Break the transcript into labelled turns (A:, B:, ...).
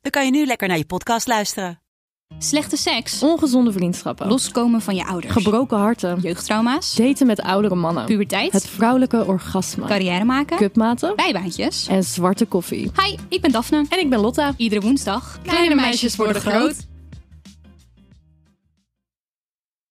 A: dan kan je nu lekker naar je podcast luisteren.
B: Slechte seks.
C: Ongezonde vriendschappen.
B: Loskomen van je ouders.
C: Gebroken harten.
B: Jeugdtrauma's.
C: Daten met oudere mannen.
B: Puberteit.
C: Het vrouwelijke orgasme.
B: Carrière maken.
C: Cupmaten.
B: Bijbaantjes.
C: En zwarte koffie.
B: Hi, ik ben Daphne.
C: En ik ben Lotta.
B: Iedere woensdag.
C: Kleine meisjes worden groot.